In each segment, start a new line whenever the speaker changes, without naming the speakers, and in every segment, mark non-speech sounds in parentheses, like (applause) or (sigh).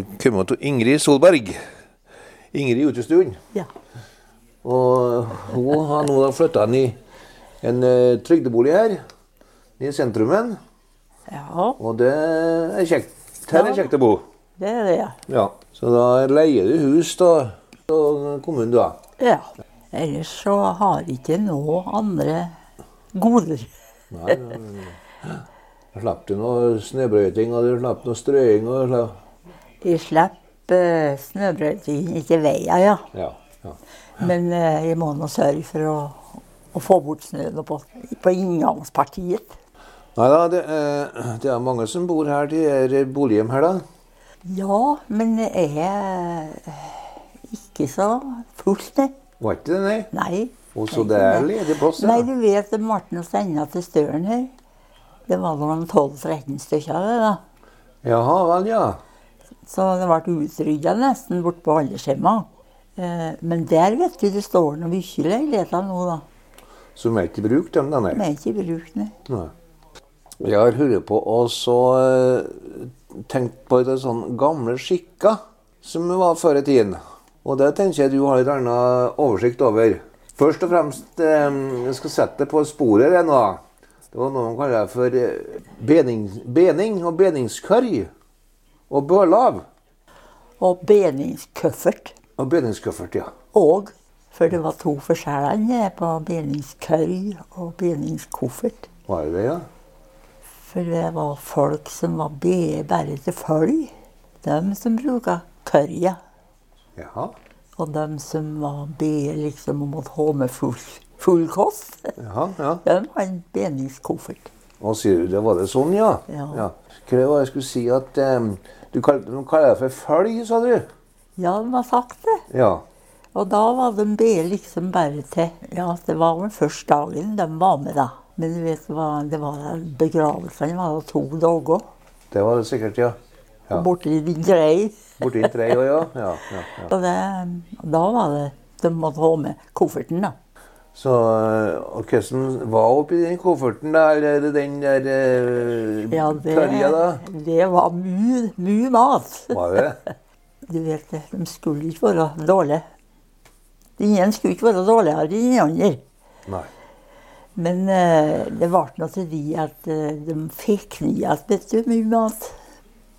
Velkommen til Ingrid Solberg. Ingrid i utestuen.
Ja.
Og hun har nå flytta inn i en eh, trygdebolig her i sentrumen.
ja,
Og det er kjekt. Her er kjekt å bo.
det er det, ja.
Ja. Så da leier du hus da, og kommunen, da.
ja. Ellers så har jeg ikke noe andre goder.
Da slapp du noe snøbrøyting, og du slapp noe strøing. og du slapp...
Jeg slipper uh, snøbrøyting ikke veien, ja.
Ja. ja.
Men eh, jeg må nå sørge for å, å få bort snøen på, på inngangspartiet.
Nei da, det, eh, det er mange som bor her. Det er bolighjem her, da.
Ja, men det er eh, ikke så fullt, det.
Var ikke det, nei?
Nei.
Og så det er ledig plass, ja.
Nei, du vet det Marten og Steinar til Støren her. Det var noen 12-13 stykker av det, da.
Jaha vel, ja.
Så det ble utrydda nesten bort på aldershjemma. Eh, Men der vet du, det står noen mye leiligheter nå, da.
Som er ikke brukt, dem, da, nei.
Vi er ikke i bruk, nei.
Nei. Jeg har hørt på og så eh, tenkt på et sånn gamle skikker som var før i tiden. Og det tenker jeg du har litt annen oversikt over. Først og fremst eh, jeg skal sette deg på sporet her nå. Det var noe man kaller for eh, bening, bening og beningskørj. Og bølav.
Og beningskuffert
Og beningskuffert, ja.
òg. For det var to forskjeller nede på beningskørj og beningskoffert.
Var det det, ja?
For det var folk som var bede bare til følg. De som bruka kørja.
Jaha.
Og de som var bede liksom om å ha med full, full kost,
Jaha, ja.
de hadde en beningskoffert.
Og sier du det, var det sånn, ja?
Ja.
Hva var det jeg skulle si at eh, du kalte de kaller det for følg, sa du?
Ja, de har sagt det.
Ja.
Og da var de be liksom bare til Ja, det var vel først dagen de var med, da. Men du vet, det var, det var begravelsene var jo to dager.
Det var det sikkert, ja. Ja.
Borte i de grei.
Borti en tre år, ja. ja, ja, ja.
Og det, da var det De måtte ha med kofferten, da.
Så eh, og hvordan var oppi den kofferten der, eller den der eh,
Ja, det,
tørja da?
det var mye mye mat.
Var det?
Du vet, det, de skulle ikke være dårlige. Den ene skulle ikke være dårligere enn den andre.
Nei.
Men eh, det ble nå til de at eh, de fikk igjen vet du, mye mat.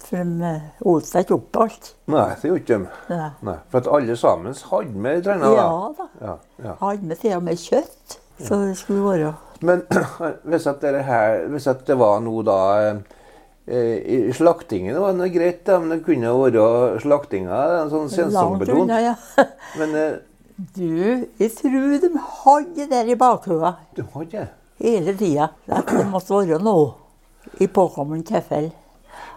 For de uh, åt seg ikke opp alt.
Nei, det gjorde ikke de.
Ja.
Nei, for at alle sammen hadde med trena da.
ja da.
Ja, ja.
Hadde med til og med kjøtt. Så det skulle være
Men (clears throat) hvis at, dere her, hvis at det var noe da eh, i Slaktingen var noe greit, da, men det kunne jo være slaktinga en sånn
langt
sensommerdoen.
unna. ja. (laughs)
Men eh,
Du, jeg tror de hadde det der i bakhodet
du har ikke
hele tida. At det måtte være noe i påkommende tilfelle.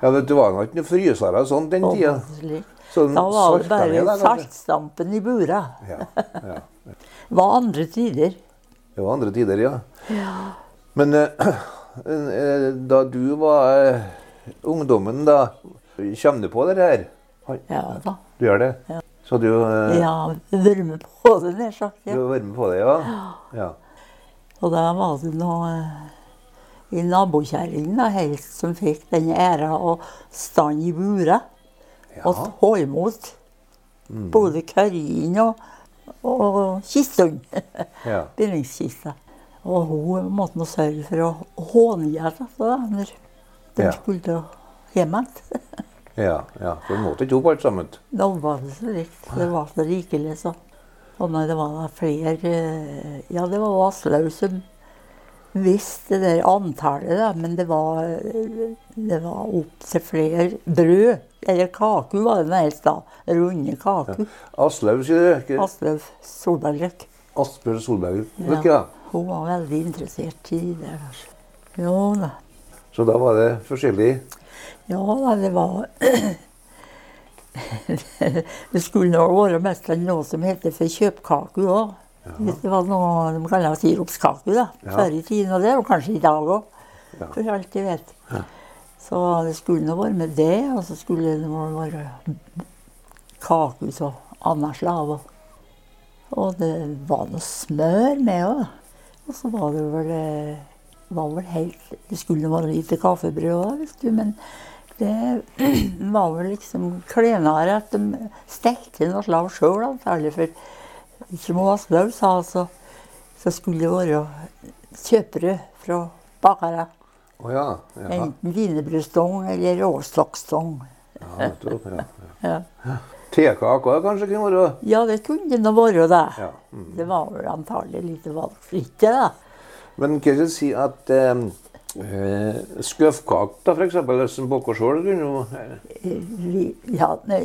Ja, vet du, det var nok ikke noen frysere og sånn den
Og
tida.
slik.
Så den
Da var det
salta ned
bare
der, kanskje?
saltstampen i bura.
Ja, ja.
Det var andre tider.
Det var andre tider, ja. Men eh, (clears throat) eh, da du var eh, ungdommen, da Kommer du på det her? Oi,
Ja da.
Du gjør det? Så du, eh,
Ja, vært med på det, nær sagt. Ja.
du var med på det, ja? ja.
Og da var det noe eh, i nabokjerringen da, helst som fikk den æra å stande i bura
Ja.
og
Mm.
ta imot både Karin og, og kisten. (laughs)
Ja.
Bindingskista. Og hun måtte nå sørge for å håndgjøre det da, når de
Ja.
skulle hjem igjen.
ja, ja. For du måtte ikke opp alt sammen.
Da var det så likt. Det var så rikelig, så. Og når det var da flere eh, Ja, det var Aslaug som visste det der antallet, da, men det var, det var opptil flere brød. Eller kaku var det helst, da. Runde kaku.
Aslaug, sier du? ikke?
Aslaug Solbergløk.
Asbjørn Solberg.
Ja.
Ikke, ja.
Hun var veldig interessert i det der. Jo da.
Så da var det forskjellig.
Ja da, det var (clears throat) Det skulle nå være mest enn noe som heter for kjøpkake òg. Det var noe de kaller siropskake da,
Ja.
før i tiden, og det er jo kanskje i dag òg.
Ja.
For alt jeg vet. Så det skulle nå være med det, og så skulle det nå være kake av annet slag. Og, og det var noe smør med òg. Og så var det vel eh, var vel helt Det skulle nå være lite kaffebrød òg, vet du, men Det (clears throat) var vel liksom klenere at de stelte noe slag sjøl, antagelig. For som Aslaug sa, så, så skulle det være kjøpere fra bakere.
Å ja. ja.
Enten wienerbrødstong eller råstokkstong.
ja, nettopp, ja, ja.
Ja.
Tekaka kanskje kunne være
ja, det kunne det nå være, det.
ja. mm.
Det var vel antagelig litt valgfritt, det da.
Men kan ikke si at eh, eh, skøvkake, da, for eksempel, som baker sjøl, kunne jo eh,
Vi- Ja, nei,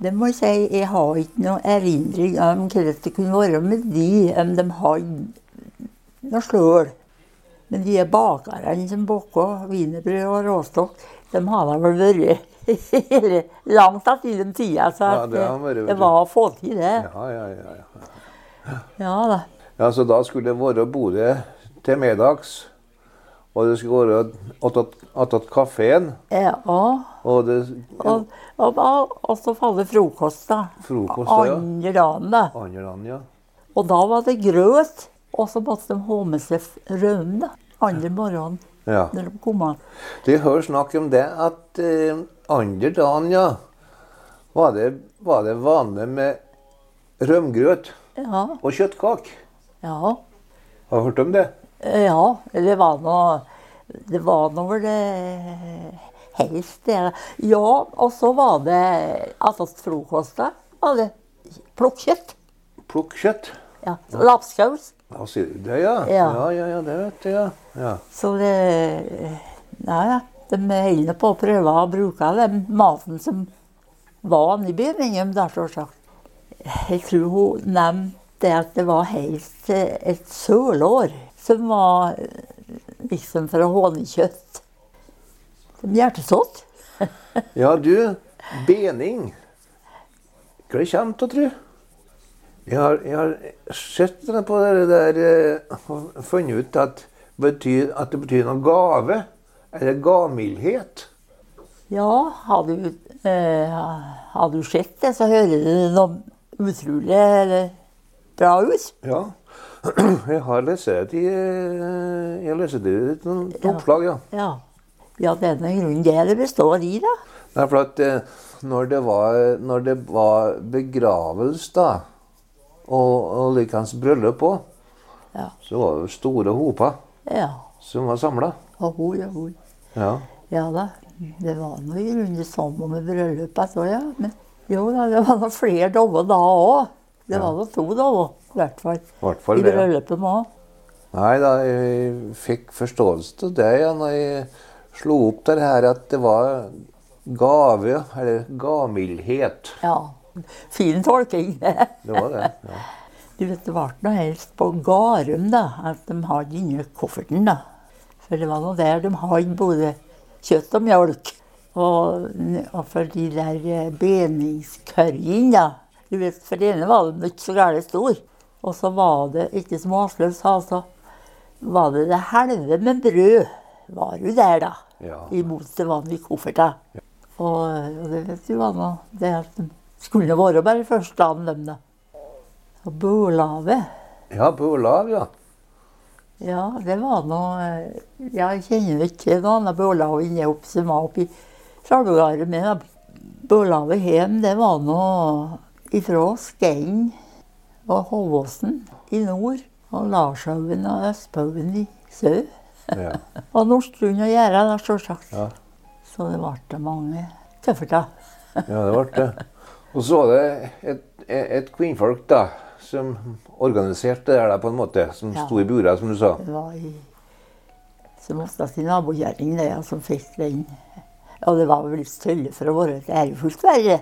det må jeg si, jeg har ikke noen erindring om hvordan det kunne være med de, om de har noe sløl. Men de er bakerne som baker wienerbrød og råstokk, de har da vel vært (laughs) hele- langt av til den tida. Så
Ja,
at
det har vært, vet
det,
du.
var å få til, det.
ja, ja, ja, ja.
Ja da.
ja, så da skulle det være Bodø til middags. Og det skulle være attåt kafeen.
Ja,
Og det
og, og, og, og så faller frokost, da.
Frokost, ja.
Andre dagen, da.
andre land, ja.
Og da var det grøt, og så måtte de ha med seg rømme da, andre morgenen
ja.
når de kom an.
De hører snakk om det at eh, andre dagen, ja, var det, var det vanlig med rømgrøt
Ja,
og kjøttkake.
ja,
Har du hørt om det?
ja, det var noe, det var noe vel det helst det. da. Ja, og så var det, altså frokost da, var det plukkkjøtt,
Plukk kjøtt.
ja, lapskaus.
Da sier du det, ja. Ja,
Ja.
ja, ja, det vet jeg, ja. ja.
Så det, nei da, de holder på å prøve å bruke den maten som var i begynnelsen, da, selvsagt. Jeg tror hun nevnte det at det var helt eh, et sølår som var eh, liksom fra honningkjøtt. Som hjertesått.
Ja, du, bening. Hva det kommer til, tru? Jeg har, jeg har sett det på det der eh, og funnet ut at, betyr, at det betyr noe gave. Eller gavmildhet.
Ja, har du, eh, har du sett det, så hører det noe utrolig eh, bra ut.
Ja. (clears throat) Jeg har lest det i eh, Jeg leste det i et noen oppslag, ja.
Ja. Ja, det er noen grunn det det består i, da.
Nei, for at eh, når det var, når det var begravelse, da, og, og likeens bryllup òg,
Ja.
så var det store hoper
Ja.
som var samla.
Og hol og hol.
Ja.
Ja da. Det var noe i grunnen det samme med bryllupet så, ja. Men jo da, det var noe flere dommer da òg. Det var noe to dommer, i hvert fall.
hvert fall
I
det, ja.
bryllupet òg.
Nei da, jeg fikk forståelse av det ja, når jeg slo opp det her at det var gave, eller gavmildhet.
Ja. Fin tolking. (laughs)
Det var det. Ja.
Du vet, det ble noe helst på Garum, da, at de hadde inni kofferten, da. For det var nå der de hadde både kjøtt og mjølk. Og, og for de der eh, beningskørjene, da. Du vet, for det ene var de ikke så gærent stor. Og så var det, ikke som Aslaug sa, så var det det halve med brød. Var jo der, da.
Ja.
Imot det vanlige kofferta. Og, og det vet du hva nå, det at de skulle være bare første dagen, dem, da. Og Bolave,
ja, på Olav, ja.
ja, det var noe eh, ja, Jeg kjenner ikke til noe annet Bolave enn jeg opp- som var oppi Salvegardet. Men da Bolave hjem, det var noe ifra Skein og Hovåsen i nord. Og Larshaugen og Østhaugen i sør.
ja.
Og Nordstrund og Gjerda, da, sjølsagt.
Ja.
Så det ble mange tøfferter.
Ja, det ble det. Og så var det et, et, et kvinnfolk da, som organiserte det her da, på en måte. Som
Ja.
sto i bura, som du sa.
Det var i, som ofte til nabokjerringen det, ja, som fikk den. Og det var vel litt stølle for å være et ærefullt verre.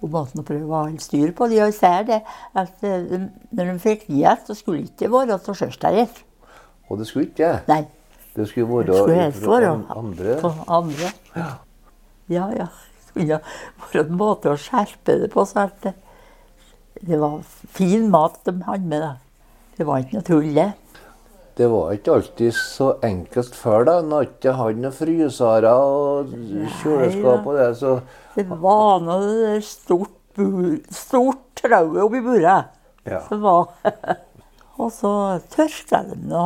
Hun måtte nå prøve å ha litt styr på det, og jeg ser det, at eh, de- når de fikk den igjen, så skulle det ikke være til sjøsterhet.
Og det skulle ikke det.
Nei,
Det skulle
det skulle
være
helst være
an- andre.
på andre. Ja, ja. Det skulle være en måte å skjerpe det på, så at det, det var fin mat de hadde med. Da. Det var ikke noe tull, det.
Det var ikke alltid så enkelt før da. Når jeg ikke hadde noen frysere og kjøleskap og det, så
Det var nå det der stort, bur, stort trauet oppi buret (laughs)
Ja.
som var. Og så tørka de nå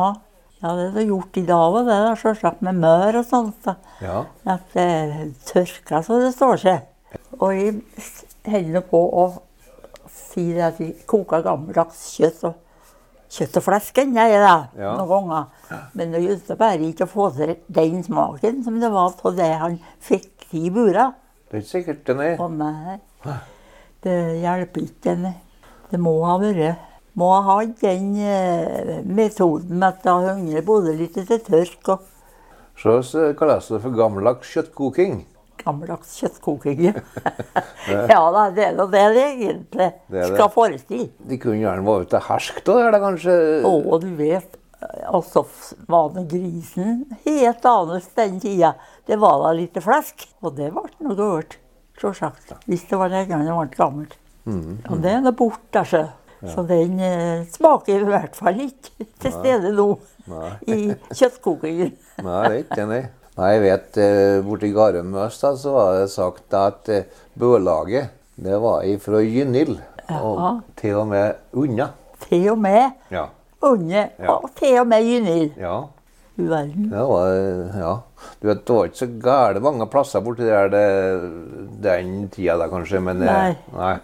Ja, det er det gjort i dag òg, det er selvsagt med mør og sånt. da.
Ja.
At det tørker så det står seg. Og jeg s- holder nå på å si det at vi koker gammeldags kjøtt. og Kjøtt og flesk ennå er det
Ja.
noen ganger. Men det gjelder bare ikke å få til den smaken som det var på det han fikk i bura.
Det er ikke sikkert den er.
Å nei. Det hjelper ikke. nei. Det må ha vært Må ha hatt den eh, metoden at det hungrer både litt etter tørk og
Så så kalles det for gammeldags kjøttkoking.
gammeldags kjøttkoking. (laughs) ja, da, det er nå det det egentlig
Det er det.
skal forestille.
De kunne gjerne vært ute og hersket da, eller kanskje
Å, og du vet, altså f- var nå grisen helt annerledes den tida. Det var da lite flesk, og det ble noe galt, sjølsagt. Hvis det var den gangen det ble gammelt.
Mm-hmm.
Og det er nå borte, sjø. Så den eh, smaker i hvert fall ikke til stede nå
Nei.
i kjøttkokingen.
Nei, det er ikke den er. Nei, jeg vet eh, borti Garøm øst da, så var det sagt at eh, bølaget, det var ifra Gynnil.
Jaha.
Og til og med unna.
Til og med
Ja.
unge,
Ja.
og til og med Gynil.
Ja.
Du verden.
Det var, eh, ja. Du vet, det var ikke så gære mange plasser borti der det, den tida da, kanskje, men eh, nei.
Nei,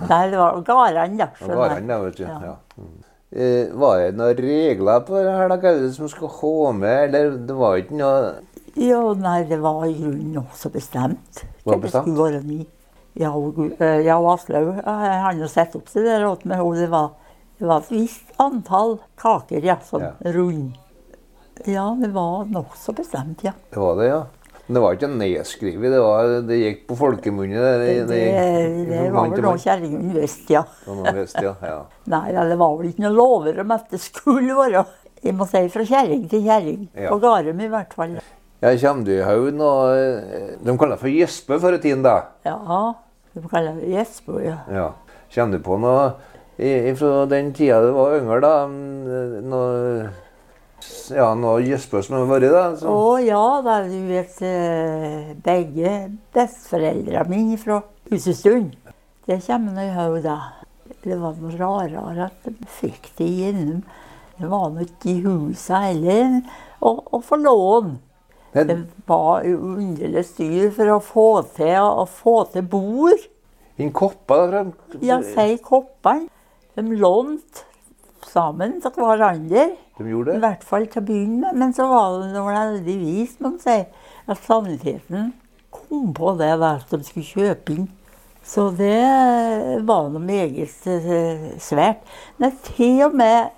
nei, det var Garan, da.
Det var han, da, vet du.
Ja.
Ja. Mm. Eh, var det noen regler på det her, da, Gaude, som skulle ha med, eller det var ikke noe
Jo, nei, det var i grunnen også bestemt.
Var
Hva
det bestemt?
skulle være ni. Ja, og Gu- eh, ja, og Aslaug eh, han har satt opp til det rådet med henne. Det var, det var et visst antall kaker, ja, sånn
Ja.
rund. Ja, det var nokså bestemt, ja.
Det var det, ja. Men det var ikke nedskrevet, det, var, det gikk på folkemunne. Det,
Det, det, var vel noe kjerringen visste, ja.
noe visste, ja. ja.
Nei, ja, det var vel ikke noe lover om at det skulle (laughs) være. Jeg må si fra kjerring til kjerring.
Ja.
På Garum i hvert fall.
Ja, kommer du i haug og eh, De kaller det for gjespe før i tiden, da.
Ja, de kaller det Jesper, ja.
Ja. Kommer du på noe i- fra den tida du var yngre, da? mm, Noe ja, noe gjespe som har vært, da?
Å
Som,
ja, da du vet eh, begge besteforeldrene mine fra Husestund. Det kommer nå i hodet. da. Det var noe rarere at de fikk det gjennom. Det var nå ikke i huset heller å å få lån. Det
Den-
var jo underlig styr for å få til, å få til bord.
den koppa da, fra
Ja, si koppene. De lånte sammen til hverandre.
De gjorde
I
det?
hvert fall til å begynne med, men så var det noe heldigvis må man si, at saniteten kom på det da, at de skulle kjøpe inn. Så det var noe meget eh, svært. Men til og med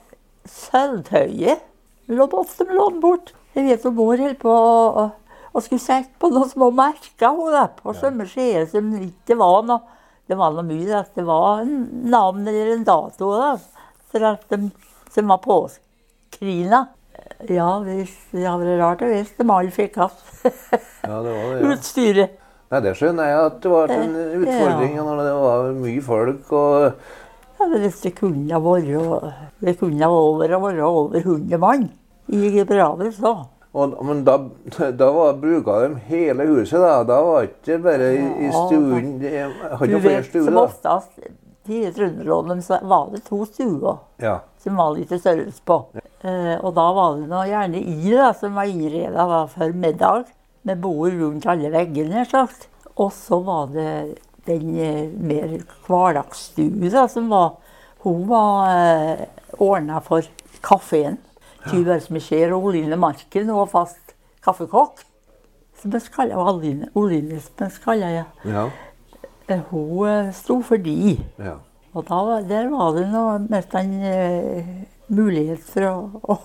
sølvtøyet lå ofte med lån bort. Jeg vet jo mor holdt på å, å, å skulle sette på noen små merker hun da, på samme skjede som ikke var noe. Det var noe mye at det var en navn eller en dato da, for at de, som var påskrevet. Krina. Ja, hvis, ja, det er rart hvis de alle fikk av
(laughs) Ja, det var det, ja.
utstyret.
Nei, det skjønner jeg at det var en
Eh,
utfordring
ja.
når det var mye folk og
Ja, men hvis det kunne være det kunne være over, være over 100 mann i Gibraltar, så
Og, men da, da var, bruka de hele huset, da. Da var det ikke bare i, i
Ja,
stuen Jeg hadde
Du
jo flere
vet,
stuer,
som
da.
oftest i Trønderlånen så var det to stuer
Ja.
som var litt størrelse på. Eh, og da var det nå gjerne i da, som var innreda før middag, med bord rundt alle veggene. nær sagt. Og så var det den eh, mer hverdagsstue da, som var Hun var eh, ordna for kafeen. Tyvers Michel og Oline Marken, hun var fast kaffekokk. Som jeg kaller Oline, Oline som jeg kaller jeg.
ja.
Eh, Hun eh, sto for de.
ja.
Og da, var- der var det noe, mest en eh, mulighet for å, å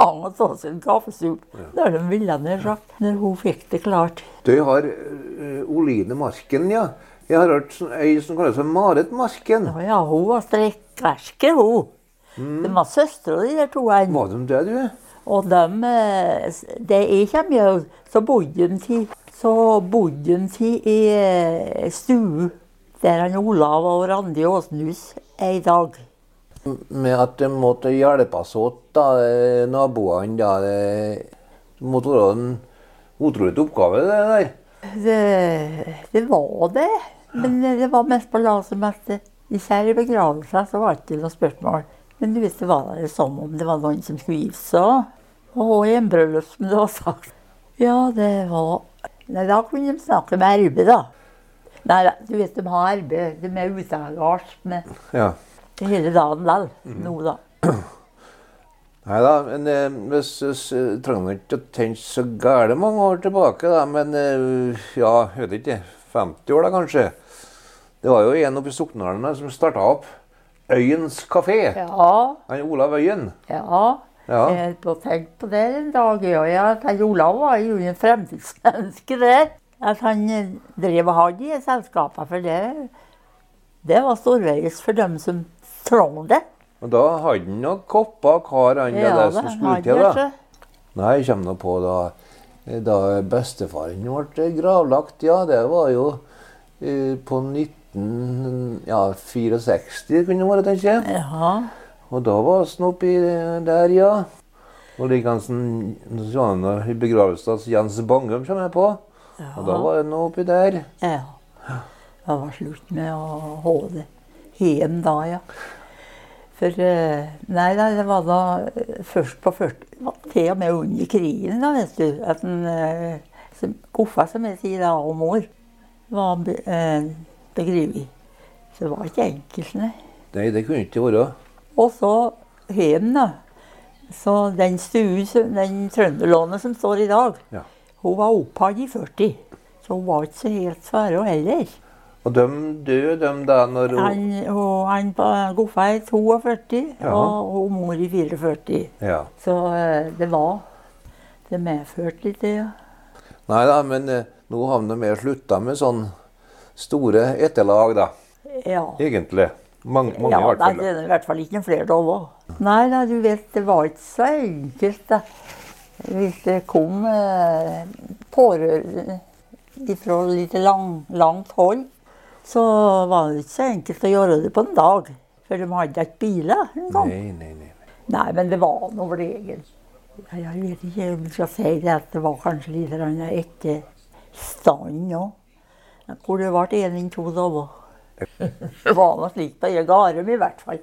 ha med seg en kaffesup. Det var de ville nær sagt. Når hun fikk det klart.
Du har eh, Oline Marken, ja. Jeg har hørt sånn- ei som kalles for Marit Marken.
Å ja, hun var strekkverker, hun. De var søstre, de der to. En.
Var de det, du?
Og de, eh, s- det jeg kommer jo, så bodde de til, så bodde de til i eh, stue der han Olav og Randi Åsenhus er i dag.
Med at de måtte hjelpes åt, da, eh, naboene, da. eh, Det måtte være en utrolig oppgave, det der.
Det, det var det. Men det var mest på la som at eh, især i begravelser så var det ikke noe spørsmål. Men du visste var det som om det var noen som skulle gifte seg. også. Og hjemmebryllup, som det var sagt. Ja, det var Nei, da kunne de snakke med RB, da. Nei, da, du vet, de har RB. De er uteagards med
Ja.
hele dagen likevel. Nå, da.
Nei da, men eh, hvis, hvis, eh, trenger man ikke å tenke så gære mange år tilbake, da. Men eh, ja, jeg vet ikke, 50 år da kanskje. Det var jo en oppe i Soknaren da som starta opp Øyens kafé.
Ja,
Han Olav Øyen.
ja.
Ja.
Jeg holdt på å tenke på det en dag. Ja, ja. at Olav var jo en fremtidsmenneske der. At han eh, drev og hadde de selskapene for det. Det var storveis for dem som trengte det.
Og da hadde han noen kopper og kar, han ja, det som
han
skulle
hadde
til,
det,
da.
så.
Nei, jeg kommer nå på da Da bestefaren ble gravlagt, ja, det var jo eh, på 1964, ja, 64 kunne det være, tenker jeg.
Ja.
Og da var han oppi der, ja. Og likeansen i begravelsen hans Jens Bangum kommer jeg på. Og da var han oppi der.
Ja. Det var slutt med å holde hjem da, ja. For eh, Nei, nei, det var da eh, først på 40 det var Til og med under krigen, da, vet du. At den eh, som- Koffa, som jeg sier, da, og mor, var be, eh, begrevet. Så det var ikke enkelt, nei.
Nei, det kunne ikke være.
Og så hjem, da. Så den stuen, som- den trønderlånet som står i dag,
Ja.
hun var opphatt i 40. Så hun var ikke så helt svære heller.
Og de døde, de da, når hun
Han, og han på Goffa i 42,
Ja.
og, og mor i 44.
Ja.
Så eh, det var Det medførte litt, det. ja.
Nei da, men eh, nå har de mer slutta med sånn store etterlag, da.
Ja.
Egentlig. Mange, mange
ja,
i hvert fall.
Nei, det er i hvert fall ikke en flere av òg. Nei, nei, du vet, det var ikke så enkelt. Da. Hvis det kom eh, pårørende fra litt lang, langt hold, så var det ikke så enkelt å gjøre det på en dag. For de hadde ikke biler engang.
Nei, nei, nei.
Nei, men det var noe vel egentlig. Ja, Jeg vet ikke om jeg skal si det, at det var kanskje litt grann etter stand òg. Hvor det ble én inn to dager. Det var noe slik på Garum i hvert fall.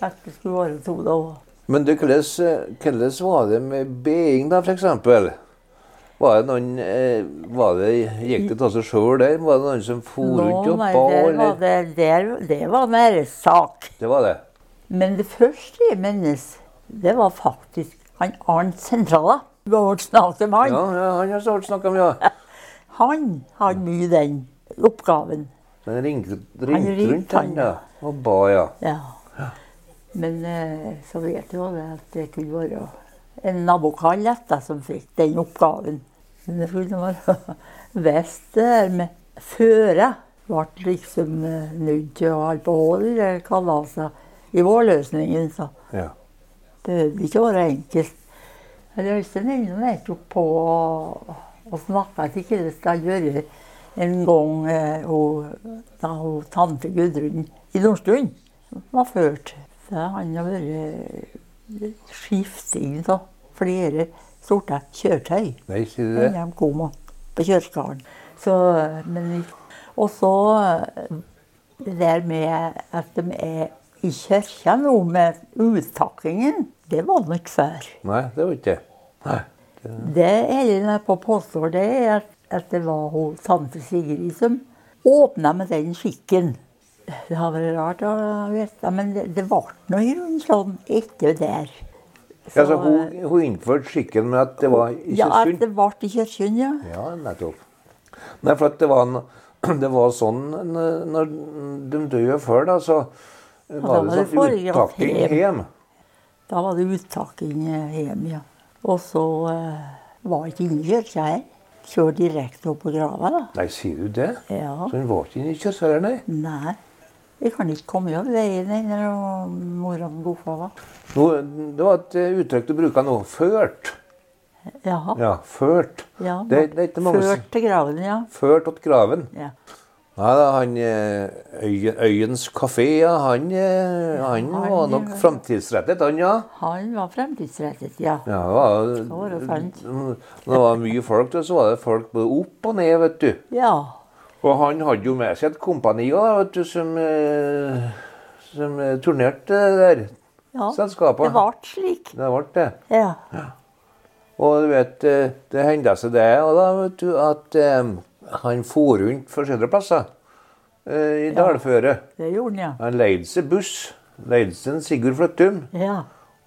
At det skulle være to dager.
Men du, hvordan eh, hvordan var det med being, da, f.eks.? Var det noen eh, var det, Gikk det av seg sjøl der? Var det noen som for rundt
Nå,
og
nei,
ba,
der var
eller?
det, der, det var en æressak.
Det var det.
Men det første jeg minnes, det var faktisk han Arnt Sentrala. Du har hørt snakk om han.
Ja, ja han har snart snakka om, ja.
Han hadde mye den oppgaven.
Men ringte
Han
ringte
ringte,
rundt, han, da. Og ba, ja.
Ja. Men eh, så vet jo det at det kunne være en nabokall etter som fikk den oppgaven. Men det skulle være (laughs) vest der med føre. Ble liksom eh, nødt til å holde på hull i det kalaset i vår løsningen, så
ja.
behøvde ikke å være enkelt. Men Øystein er jo nettopp på å, å snakke til hva det skal gjøre en gang eh, hun, da hun tante Gudrun i Nordstuen var ført. Så han har vært skifting av flere sorter kjøretøy.
Nei, sier du
Men
det?
de kom på kjøreskolen. Så, men, og så eh, det der med at de er i kirka nå med uttakkingen, det var nok før.
Nei, det var ikke det. Nei.
Det Elin er på påstår, det er at, at det var hun, tante Sigrid som åpna med den skikken. Det har vært rart å vite, men det, det ble nå i grunnen sånn etter der.
Ja, så hun, hun innførte skikken med at det var ikke
ja, at
sunt?
det ble i kirken, ja.
Ja, nettopp. Nei, for at det var, en, (clears throat) det var sånn n- Når de døde før, da, så var
da var
det
det
sånn
foregrepet
uttakking
hjem.
hjem.
Da var det uttaking eh, hjem, ja. Og så eh, var jeg ikke inne i kirka her. Kjør direkte opp på grava, da.
Nei, sier du det?
Ja.
Så hun var ikke inne i kirka heller, nei?
Nei. Jeg kan ikke komme av veien ennå, og mora mi goffa var.
Nå, det var et eh, uttrykk du bruker nå. Ført.
Jaha.
Ja, ført.
Ja,
det, det er ikke mange som
Ført til graven, ja.
Ført til graven.
ja.
Nei da, han eh, Øy- Øyens kafé, ja, han, eh, han
han,
var nok
ja.
framtidsrettet, han, ja.
Han var fremtidsrettet, ja.
Ja, det var,
var det sant.
Når det var mye folk, så var det folk både opp og ned, vet du.
Ja.
Og han hadde jo med seg et kompani også, vet du, som, eh, som eh, turnerte det der
ja.
selskapet.
Det ble slik.
Det ble det.
Ja.
Og du vet, eh, det hendte seg det og da vet du at eh, han for rundt forskjellige plasser eh, i dalføret.
Det gjorde han, ja.
Han leide seg buss. Leide seg en Sigurd Fløttum.
Ja.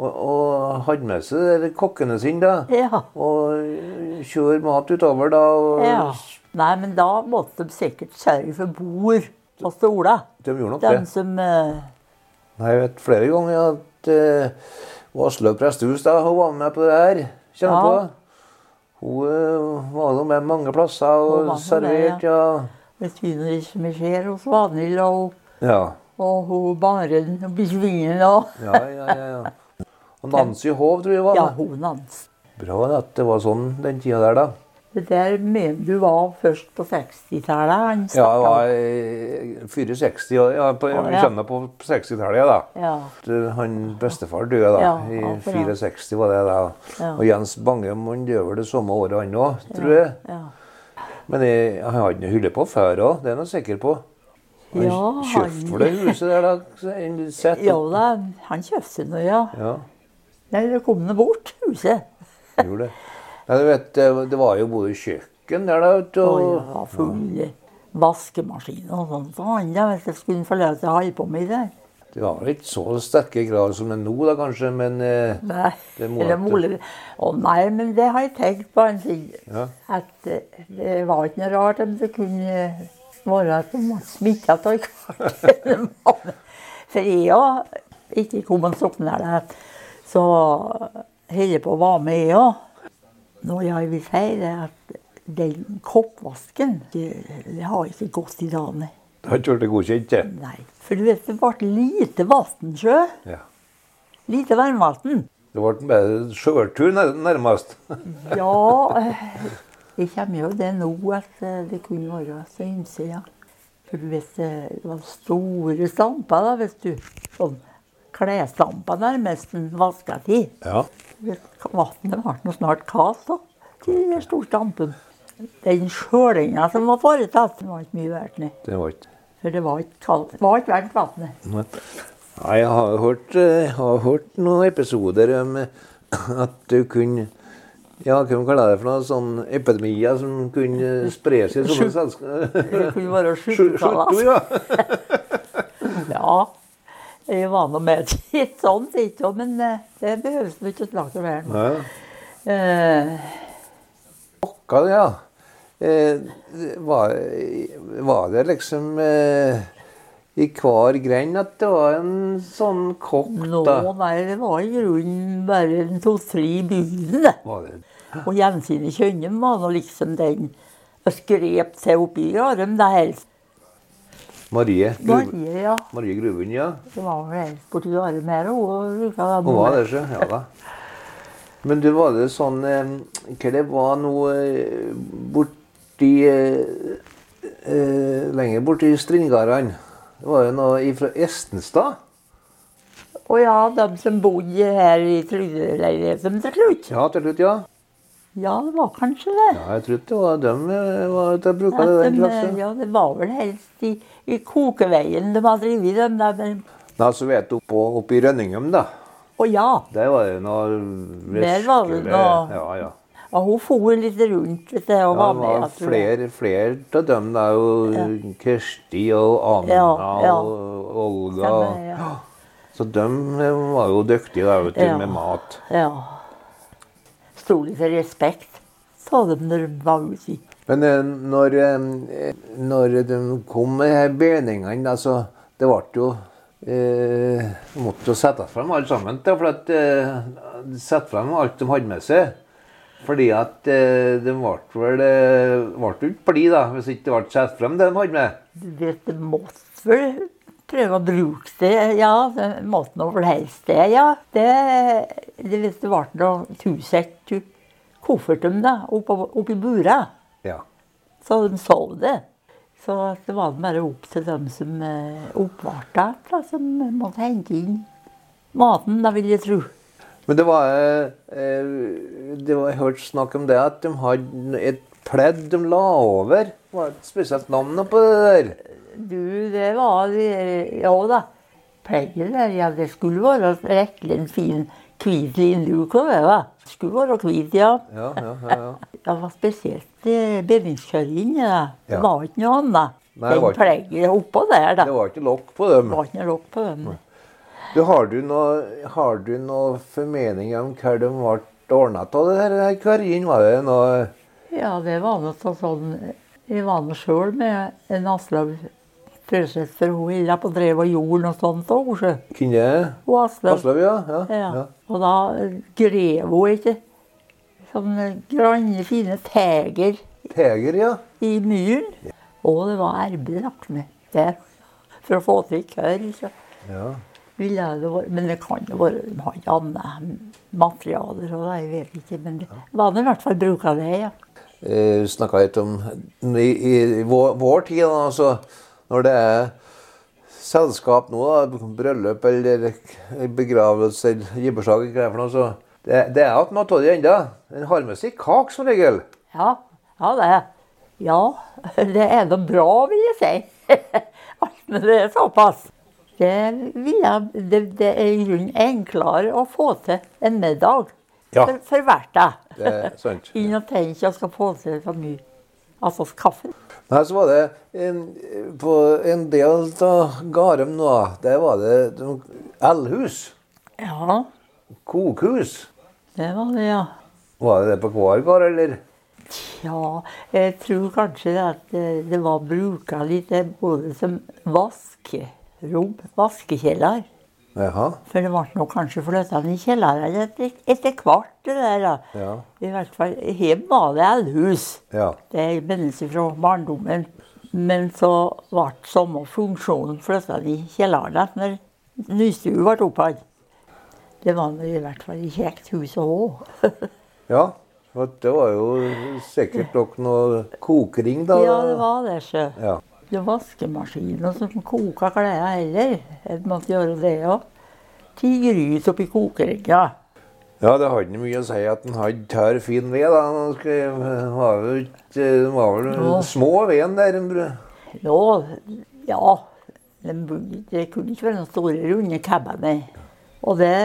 Og, og hadde med seg de der kokkene sine, da.
ja.
Og kjøre mat utover, da. Og
ja. Nei, men da måtte de sikkert sørge for bord og stoler.
de gjorde nok det.
De som eh,
Nei, Jeg vet flere ganger at eh, Vaslaug Prestehus da, hun var med på det her. Kjenner
Ja.
på. Hun eh, var nå med mange plasser
Hun
og
var med det,
servert, ja.
Det tyner ikke mye skjer hos Vanhild og,
Ja,
og hun Baren og Bisvingen og
ja, ja. ja, ja. Og Nancy Hov, tror jeg var
Ja,
med.
hun hans.
Bra at det var sånn den tida der, da.
Det der mener du var først på 60-tallet? han
Ja,
snakket
jeg
om.
var eh, 64, og ja, på,
Å,
jeg
ja.
kjenner på 60-tallet, ja, da.
ja.
Det- eh, Han bestefar døde da,
Ja,
i
akkurat.
64 var det da.
Ja.
Og Jens Bangem han døde vel det samme året han òg, tror jeg.
Ja.
Men jeg, jeg hadde noe hylle på før òg, det er jeg sikker på. Han
Ja,
kjøpte for det huset der, da. en sett
Jo
opp.
da, han kjøpte noe, ja.
Ja,
Nei, det kom noe bort, huset.
han gjorde det. Nei, du vet, eh, det- det var jo både kjøkken der, da, vet du,
Og
og
jeg var full vaskemaskin og sånt som han da, hvis jeg skulle få lov til å holde på med det.
Det var vel ikke så sterke krav som det er nå, da, kanskje, men eh,
Nei.
Det må
Eller
at-
mole. Å nei, men det har jeg tenkt på en ting.
Ja.
At eh, det var ikke noe rart om det kunne være på en måte smitta av kaken. (laughs) For jeg òg, ikke kom en sokner der, så holder jeg på å være med, jeg òg. Når jeg vil si det, at den koppvasken, det, det har ikke gått i dagene.
det har ikke vært godkjent, det.
Nei. For du vet, det ble lite vannsjø.
Ja.
Lite varmvann.
Det ble bare sjøltur, nær- nærmest. (laughs)
Ja, eh, det kommer jo det nå at eh, det kunne være så ymse, ja. For du vet, eh, det var store stamper da, vet du. Sånn klesstamper nærmest en vaska til.
Ja.
Vannet ble nå snart kaldt da, til den store stampen. Den skjølinga som var foretatt, den var ikke mye verdt, nei.
Det var ikke
For det var ikke kaldt, det var ikke verdt vannet.
Nei, jeg har hørt, eh, har hørt noen episoder om eh, at du kunne Ja, hva man kaller det for noe? Sånn epidemier som kunne eh, spre seg som en selskap...
Det kunne være
Sjukdom,
sjukekalas.
ja.
Ja. Jeg var nå med (laughs) til et sånt, ikke, men eh, det behøves nå ikke å snakke om her nå.
ja.
Eh,
Pokker, ja. Eh, var, var det liksom eh, i hver grein at det var en sånn kokk,
nå,
da?
nei, det var i grunnen bare en to-tre i bygden, det.
Var det?
Og Jensine Kjønnem var nå liksom den og skrep seg oppi Jarem, da helst.
Marie, Gru,
Marie, ja.
Marie Gruvund, ja.
Det var vel helst borti Jarem her, og hun bruka da
Hun
bo
var
der.
det, så. Ja da. (laughs) Men du, var det sånn eh, Hva det var noe eh, borti eh, eh, Lenger borti Strindgardene? Det var jo noe ifra Estenstad?
Og ja, de som bodde her i trygdeleiligheten til slutt.
Ja, til slutt, ja.
Ja, det var kanskje det.
Ja, jeg trodde det var dem eh, var, de bruka det
At eh,
den
de,
klassen.
ja, det var vel helst i, i kokeveien de hadde drevet dem der. men-
Nei, så vet du, oppå, oppe i Rønningum, da.
Å ja.
Der var det noe
Der var det
virkelig-
noe-
Ja, ja.
Ja, hun for litt rundt vet du, og
Ja,
var
det
med.
var
jeg tror det.
flere, flere av dem der. Og Kirsti og Anna
Ja, ja.
og Olga.
Stemmer, ja.
Så de var jo dyktige der ute
Ja.
med mat.
Ja. Sto litt i respekt, sa de når de var ute.
Men eh, når, eh, når de kom med de her beningene, da, så det ble jo eh, Måtte jo sette frem alt sammen. Da, for at, eh, sette frem alt de hadde med seg. Fordi at eh, de ble vel eh, ble jo ikke blide da, hvis ikke det ble satt frem det de hadde med.
Du vet, de måtte vel prøve å bruke det. Ja, de måtte nå vel helst det, ja. Det, det vet du, ble noe tusett koffertum da, oppe, oppe i bura.
Ja.
Så de så det. Så at det var bare opp til dem som eh, oppvarte det, da, som måtte hente inn maten, da vil jeg tro.
Men det var, eh, eh, det var Jeg hørte snakk om det at de hadde et pledd de la over. Det var et spesielt navn på det der.
Du, det var Ja da. Pleier der, ja. Det skulle være rekkelig en fin hvit linduk over det. da. Skulle være hvit, ja.
Ja, ja, ja, ja.
Det var spesielt bevingsskjøringen. Ja.
Ja.
Det var ikke noe annet.
Nei, det
Den
var ikke-
pleier oppå der, (laughs) da.
Det var ikke lokk på dem.
Det var ikke noe lokk på den.
Du, har du noe, har du noe formening om hva de ble ordna av det her her karrien? Var det noe
Ja, det var noe så sånn Vi var nå sjøl med en Aslaug Frøseth, for hun illa på drev og jorden og sånn, sånt òg.
Kunne
Hun Aslaug.
Aslaug, ja? Ja.
Ja. Og da grev hun ikke sånne granne, fine teger
Teger, ja.
i myren. Og det var arbeid lagt med der for å få til kørr. så
ja.
ville det vært- Men det kan jo være de har ikke annet materialer, og det, jeg vet ikke. Men det var nå i hvert fall bruk av det, ja.
eh, snakka litt om i, i vår, vår tid, da, altså, når det er selskap nå, da, bryllup eller begravelse eller gibberslag, eller hva det er for noe, så det, det er igjen noe av det ennå. En har med seg kake som regel.
Ja, ja det. Ja, (laughs) det er noe bra, vil jeg si. (laughs) Alt med det er såpass. Det, vil jeg, det, det er i grunnen enklere å få til en middag
Ja.
for, for hvert dag.
Det er sant.
(laughs) Enn å tenke at jeg skal få til så mye. Altså kaffe.
Nei, så var det en, på en del av Garum nå, der var det noen elhus,
Ja,
kokhus.
det var det, ja.
Var det det på hver gård, eller?
Tja, jeg tror kanskje at eh, det var bruka litt eh, både som vaskerom, vaskekjeller.
Jaha.
For det ble nok kanskje flytta i kjelleren etter, etter hvert. det der da.
Ja.
I hvert fall hjemme var det elhus.
Ja.
Det minnes jeg fra barndommen. Men så ble samme funksjonen flytta i kjelleren at når nystua ble opphatt. Det var nå i hvert fall i kjekt hus òg.
Ja, for det var jo sikkert nok noe kokering da.
ja, det var det, sjø.
Ja.
Det var vaskemaskiner som koka klærne heller. Jeg måtte gjøre det òg. Ti gryt oppi kokeringa.
Ja, det hadde mye å si at den hadde tørr, fin ved da. Den skulle- Den var jo ikke, den var vel
Ja.
små veden der. den bru-
Ja, ja. Den burde- Det kunne ikke være noen store, runde cabbaner. Og det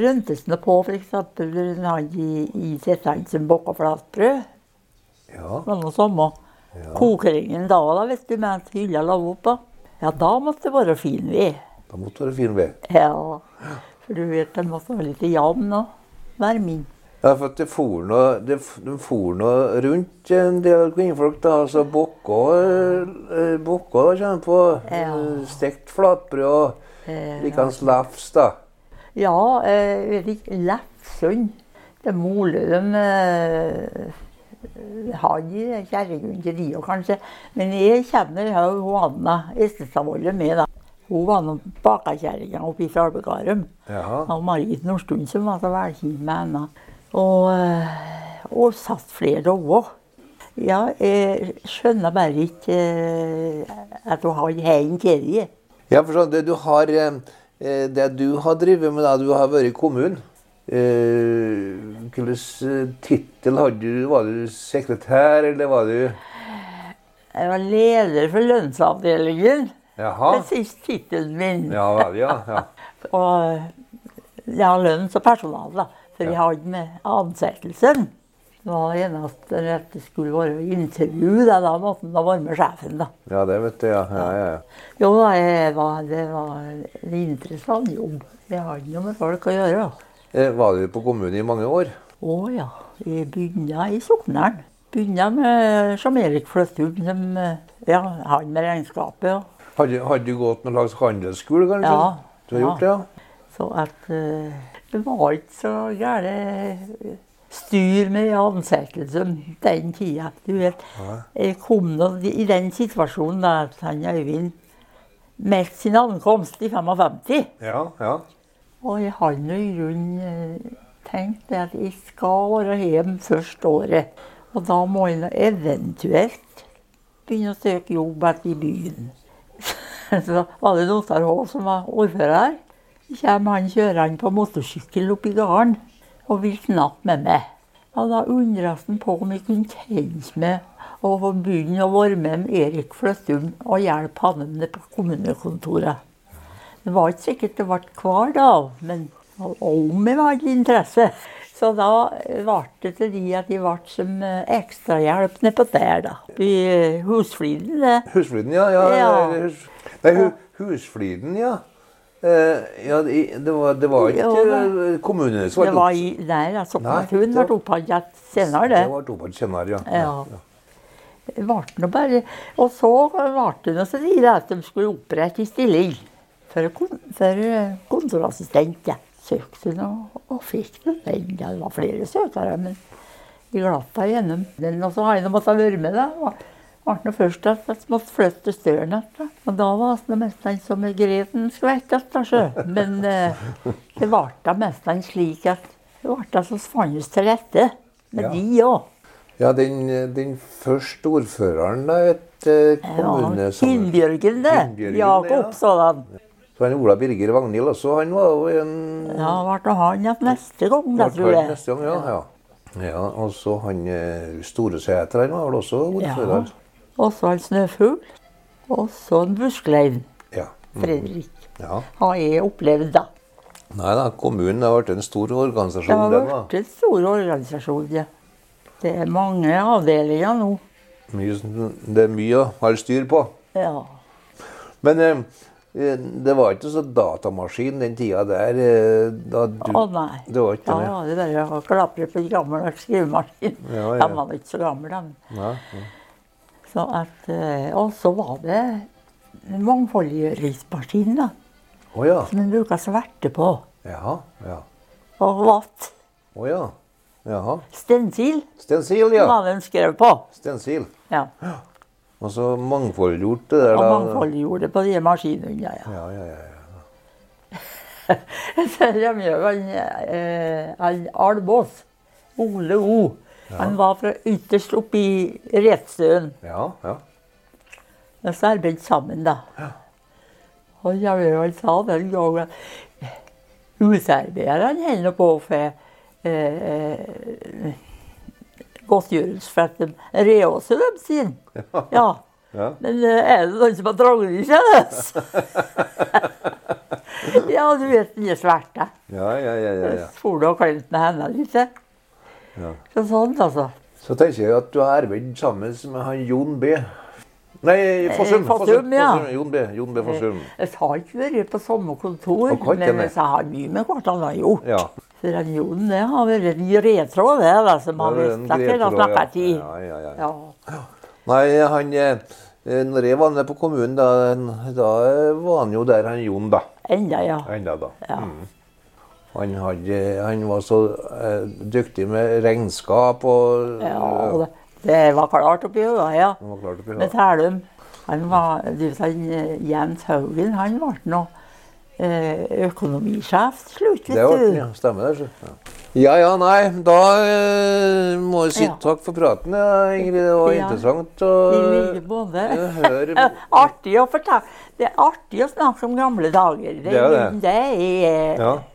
røntes det på, f.eks. den hadde i, i setene som bakka flatbrød.
Ja,
Det var noe samme. Kokeringen da, da, hvis du mente hylla lå oppå. Ja, da måtte det være fin ved.
da måtte det være fin ved.
Ja. For du vet, den måtte være litt jevn og varme inn.
Ja, for at det for noe, det, f- de for noe rundt en del kvinnfolk da. Altså bokka, eh, bokka da kjenner på.
Ja.
eh, Stekt flatbrød og
Eh,
likens lefs da.
Ja, eh, vet ikke, Lefsund. Det er Molø de eh, har de kjerregrunnen til Rio, kanskje. Men jeg kjenner jo hun Anna Estestadvollen med, da. Hun var nå bakakjerringa oppe i Salbegarum.
Jaha.
Og Margit Nordstuen som var så velkjent med henne. Og, eh, og satt flere òg. Ja, jeg skjønner bare ikke eh, at hun har heien til det.
Ja, for sånn, det du har, eh, eh, det du har drivet med da du har vært i kommunen, eh, hvilken tittel hadde du? Var du sekretær, eller var du
Jeg var leder for lønnsavdelingen.
Jaha.
Det er sist tittelen min.
Ja vel, ja. ja.
Og jeg har lønns- og personal, da. For jeg har ikke med ansettelsen. Det var det eneste at det skulle være intervju. Da, da måtte han da være med sjefen, da.
Ja, det vet jeg. Ja, ja, ja.
Jo, da, jeg var, det var en interessant jobb. Jeg har ikke noe med folk å gjøre.
Eh, Var du på kommunen i mange år?
Å ja. Jeg begynte i Soknaren. Begynte med som Erik Fløttum, som eh, ja, han med regnskapet. og
Hadde, hadde du gått noen slags handelsskole, kanskje?
Ja.
Du har gjort det, ja?
Så at eh, det var ikke så gære styr med ansettelsen den tida. Du vet, jeg kom nå i den situasjonen da at han Øyvind meldte sin ankomst i 55.
Ja, ja.
Og jeg har nå i grunnen eh, tenkt det at jeg skal være hjemme første året. Og da må jeg nå eventuelt begynne å søke jobb etter i byen. (laughs) Så var det Notarhov som var ordfører. Så kommer han kjørende på motorsykkel opp i gården og vil snakke med meg. Og da undret han på om jeg kunne tenke meg å få begynne å være med med Erik Fløttum og hjelpe han med det på kommunekontoret. Det var ikke sikkert det ble hver dag, men Og om jeg hadde interesse. Så da ble det til de at de ble som eh, ekstrahjelp nedpå der, da. I eh, husfliden, det.
Husfliden, ja. ja,
Ja.
eller hus- Nei, hu, Husfliden, ja. Eh, ja, det, det, var, det var ikke
Jo,
eh, kommunene som
Det var i, nei, da, Soknatun
Nei,
ble
det-
oppkalt senere, det.
Det var Tobakk senere, ja.
Ja. Det ble nå bare, og så ble det nå så ille at de skulle opprette en stilling for, kon- for eh, kontorassistent. Ja. Søkte hun og, og fikk den. Den- Ja, det var flere søkere, men de glatta igjennom. Den, og så har jeg nå måttet være med, da. Det ble nå først at jeg måtte flytte til Støren. da. Og da var det nesten som Greten skvett. da, sjø. Men eh, det ble da nesten slik at det ble da så fantes til rette
Ja.
med de òg.
Ja, den, den første ordføreren da, et eh, kommune
Ja,
som-
Finnbjørgen, det.
Finnbjørgen, ja.
Jakob Såland.
Så han Ola Birger Vagnhild også, han var jo en
Ja, ble det han at neste gang, da, tror
Hvert fall
jeg.
Neste gang, ja, ja. ja, og så han eh, Storesæter, han var vel også
Ja.
ordfører?
Og så en snøfugl. Og så en busklein.
Ja. Mm.
Fredrik.
ja.
Har jeg opplevd, da.
Nei da, kommunen har vært en stor
Det
organisasjon,
har
den
vært
var.
en stor organisasjon, ja. Det er mange avdelinger nå.
Mye, som- det er mye å holde styr på.
Ja.
Men eh, eh, det var ikke så datamaskin den tida der. eh, Da du,
Å nei.
Det var ikke
Da
det.
var det bare å klapre på en gammeldags skrivemaskin.
Ja, ja.
De var ikke så gamle, de.
Nei, ja.
Så at, eh, og så var det en mangfoldgjøringsmaskin, da.
Å ja.
som en bruker sverte på.
Ja. ja.
Og vatt.
Å ja. Jaha.
Stensil
Stensil, ja.
var det den skrev på.
Stensil.
Ja.
Og så mangfoldgjort det der.
Og
da.
mangfoldgjorde på de maskinene. Ja, (laughs) ja.
Ja, ja, ja. ja.
Så kom jo han, eh, han Almås, Ole O. Han var fra ytterst oppe i Retstøen.
ja, ja.
Og så arbeidet sammen, da. Og jeg vil vel sa den gangen Husarbeiderne holder nå på for eh, eh, godtgjørelse for at de reåser dem sin. Ja.
Ja.
Men eh, er det noen som har trangere
(laughs)
kjønnes? ja, du vet den er sverte.
Ja, ja, ja, ja, ja.
Spole og klemt med hendene litt. eh.
Ja.
Så sånn, altså.
Så tenker jeg at du har arbeidet sammen med han Jon B. Nei, Fossum.
Eh, Fossum, ja. Eh,
Jon B. Jon B. Fossum.
Jeg har ikke vært på samme kontor,
Og kan ikke
men
det.
jeg har mye med hvert han har gjort.
Ja.
For han Jon det har vært en gretråd, det, da, som har
Det er
visst
en
at det
Grete
har
Rå,
snakka tid.
ja. Ja, ja, ja.
Ja.
Nei, han eh, eh, Når jeg var nede på kommunen, da, da eh, var han jo der, han Jon, da.
Enda, ja.
Enda, da. Mm.
Ja.
Han, hadde, han var så eh, dyktig med regnskap og
ja og det, det var klart oppi hodet, ja.
Han var klar til å bli
Med Tælum. Han var, du vet, han, eh, Jens Haugen han ble nå eh, økonomisjef til slutt,
Det var
vet
den,
du.
ja. Stemmer det. så. Ja ja, nei. Da eh, må jeg si
Ja.
takk for praten, ja, Ingrid. Det var
Ja.
interessant å
I like måte.
jeg
(laughs)
hører-
Artig å fortelle. Det er artig å snakke om gamle dager. Det,
Det er det.
det er
Ja.